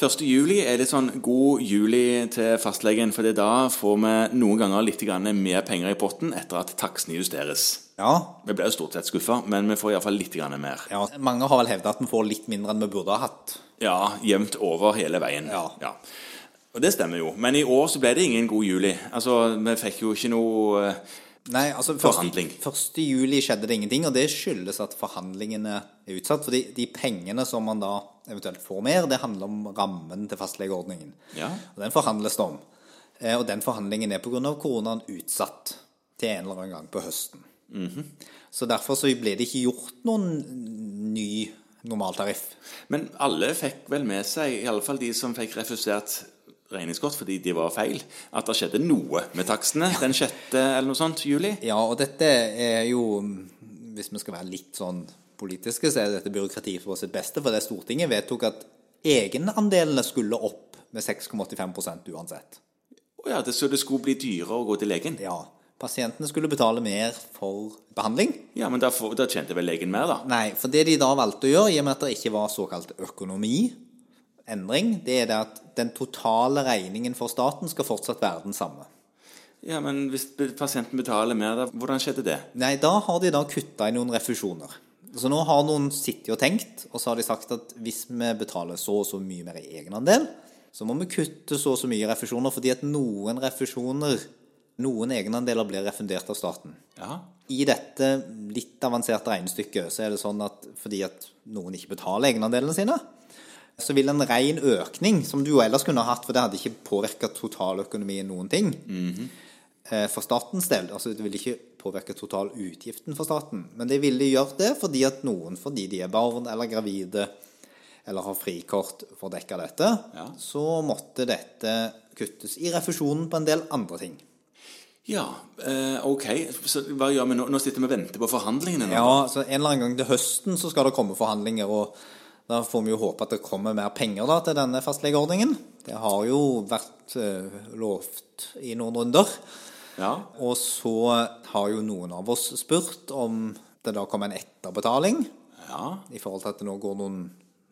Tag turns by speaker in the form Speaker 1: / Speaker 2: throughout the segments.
Speaker 1: 1. juli er det sånn god juli til fastlegen, for da får vi noen ganger litt grann mer penger i potten etter at takstene justeres.
Speaker 2: Ja.
Speaker 1: Vi ble jo stort sett skuffa, men vi får iallfall litt grann mer.
Speaker 2: ja. Mange har vel hevda at vi får litt mindre enn vi burde ha hatt.
Speaker 1: Ja, jevnt over hele veien.
Speaker 2: Ja.
Speaker 1: Og det stemmer jo. Men i år så ble det ingen god juli. Altså, vi fikk jo ikke noe eh,
Speaker 2: Nei, altså
Speaker 1: Forhandling.
Speaker 2: 1. juli skjedde det ingenting, og det skyldes at forhandlingene er utsatt. Fordi de pengene som man da eventuelt får mer, det handler om rammen til fastlegeordningen.
Speaker 1: Ja.
Speaker 2: Og den forhandles det om. Eh, Og den forhandlingen er pga. koronaen utsatt til en eller annen gang på høsten.
Speaker 1: Mhm.
Speaker 2: Så derfor så ble det ikke gjort noen ny normaltariff.
Speaker 1: Men alle fikk vel med seg, i alle fall de som fikk refusert regningskort fordi de var feil, at det skjedde noe med takstene den 6. eller noe sånt juli.
Speaker 2: Ja, og dette er jo Hvis vi skal være litt sånn politiske, så er dette byråkratiet på sitt beste. For det Stortinget vedtok at egenandelene skulle opp med 6,85 uansett.
Speaker 1: Å ja, det, så det skulle bli dyrere å gå til legen.
Speaker 2: Ja. Pasientene skulle betale mer for behandling.
Speaker 1: Ja, men da, får- da tjente vel legen mer, da?
Speaker 2: Nei, for det de da valgte å gjøre, i og med at det ikke var såkalt økonomiendring, det er det at den totale regningen for staten skal fortsatt være den samme.
Speaker 1: Ja, men hvis be- pasienten betaler mer, da, hvordan skjedde det?
Speaker 2: Nei, da har de da kutta i noen refusjoner. Så nå har noen sittet og tenkt, og så har de sagt at hvis vi betaler så og så mye mer i egenandel, så må vi kutte så og så mye i refusjoner, fordi at noen refusjoner, noen egenandeler blir refundert av staten.
Speaker 1: Ja.
Speaker 2: I dette litt avanserte regnestykket så er det sånn at fordi at noen ikke betaler egenandelene sine, så vil en ren økning, som du jo ellers kunne ha hatt, for det hadde ikke påvirka totaløkonomien noen ting, eh, for statens del Altså det ville ikke påvirke totalutgiften for staten, men det ville gjøre det fordi at noen, fordi de er barn eller gravide eller har frikort, får dekka dette,
Speaker 1: Ja.
Speaker 2: så måtte dette kuttes i refusjonen på en del andre ting.
Speaker 1: Ja, eh, ok. Så hva gjør vi nå? Nå sitter vi og venter på forhandlingene nå.
Speaker 2: Ja, så en eller annen gang til høsten så skal det komme forhandlinger, og da får vi jo håpe at det kommer mer penger da til denne fastlegeordningen. Det har jo vært eh, lovt i noen runder.
Speaker 1: Ja.
Speaker 2: Og så har jo noen av oss spurt om det da kommer en etterbetaling,
Speaker 1: ja.
Speaker 2: i forhold til at det nå går noen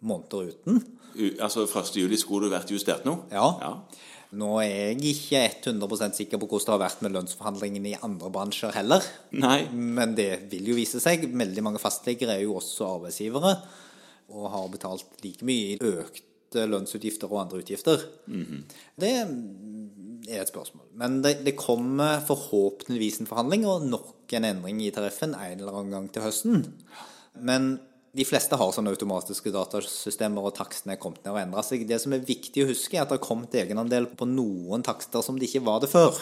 Speaker 2: måneder uten.
Speaker 1: U altså, 1. juli skulle det vært justert nå?
Speaker 2: Ja.
Speaker 1: ja.
Speaker 2: Nå er jeg ikke 100 sikker på hvordan det har vært med lønnsforhandlingene i andre bransjer heller.
Speaker 1: Nei.
Speaker 2: Men det vil jo vise seg. Veldig mange fastlegere er jo også arbeidsgivere og har betalt like mye i økte lønnsutgifter og andre utgifter. Det er et spørsmål. Men det, det kommer forhåpentligvis en forhandling og nok en endring i tariffen en eller annen gang til høsten. Men de fleste har sånne automatiske datasystemer, og takstene er kommet ned og endra seg. Det som er viktig å huske, er at det har kommet egenandel på noen takster som det ikke var det før.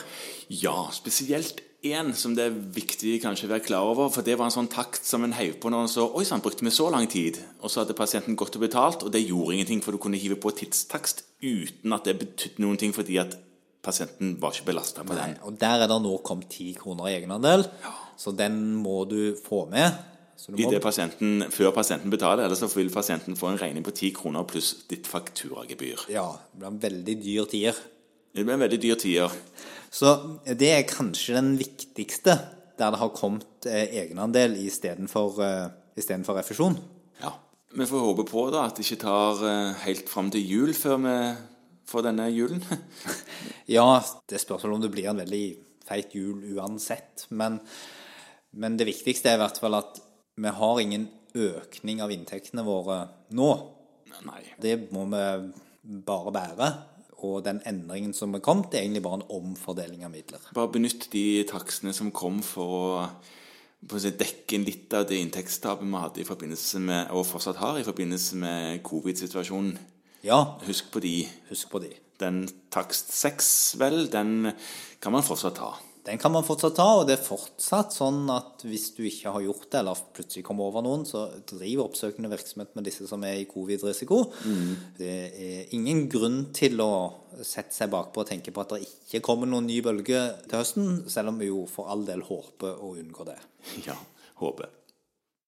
Speaker 1: Ja, spesielt én som det er viktig kanskje å være klar over. For det var en sånn takt som en heiv på når en så Oi sann, brukte vi så lang tid? Og så hadde pasienten gått og betalt, og det gjorde ingenting, for du kunne hive på tidstakst uten at det betydde noen ting, fordi at pasienten var ikke belasta på den.
Speaker 2: Og der er det nå kommet 10 kroner i egenandel, så den må du få med. Så du
Speaker 1: I
Speaker 2: må,
Speaker 1: det pasienten, før pasienten betaler, ellers så vil pasienten få en regning på 10 kroner pluss ditt fakturagebyr.
Speaker 2: ja, det blir en veldig dyr tier.
Speaker 1: Det blir en veldig dyr tier.
Speaker 2: Så det er kanskje den viktigste der det har kommet eh, egenandel istedenfor eh, istedenfor refusjon.
Speaker 1: Ja. Vi får håpe på da at det ikke tar eh, helt fram til jul før vi får denne julen.
Speaker 2: Ja, det spørs vel om det blir en veldig feit jul uansett, men, men det viktigste er i hvert fall at vi har ingen økning av inntektene våre nå.
Speaker 1: Nei.
Speaker 2: Det må vi bare bære. Og den endringen som er kommet, er egentlig bare en omfordeling av midler.
Speaker 1: Bare benytt de takstene som kom for å på å si, dekke inn litt av det inntektstapet vi hadde i forbindelse med, og fortsatt har i forbindelse med covid-situasjonen.
Speaker 2: Ja,
Speaker 1: Husk på de.
Speaker 2: husk på de.
Speaker 1: Den takst 6, vel, den kan man fortsatt ta.
Speaker 2: Den kan man fortsatt ta, og det er fortsatt sånn at hvis du ikke har gjort det, eller plutselig kommer over noen, så driv oppsøkende virksomhet med disse som er i covid-risiko. Det er ingen grunn til å sette seg bakpå og tenke på at det ikke kommer noen ny bølge til høsten, selv om vi jo for all del håper å unngå det.
Speaker 1: Ja, håper.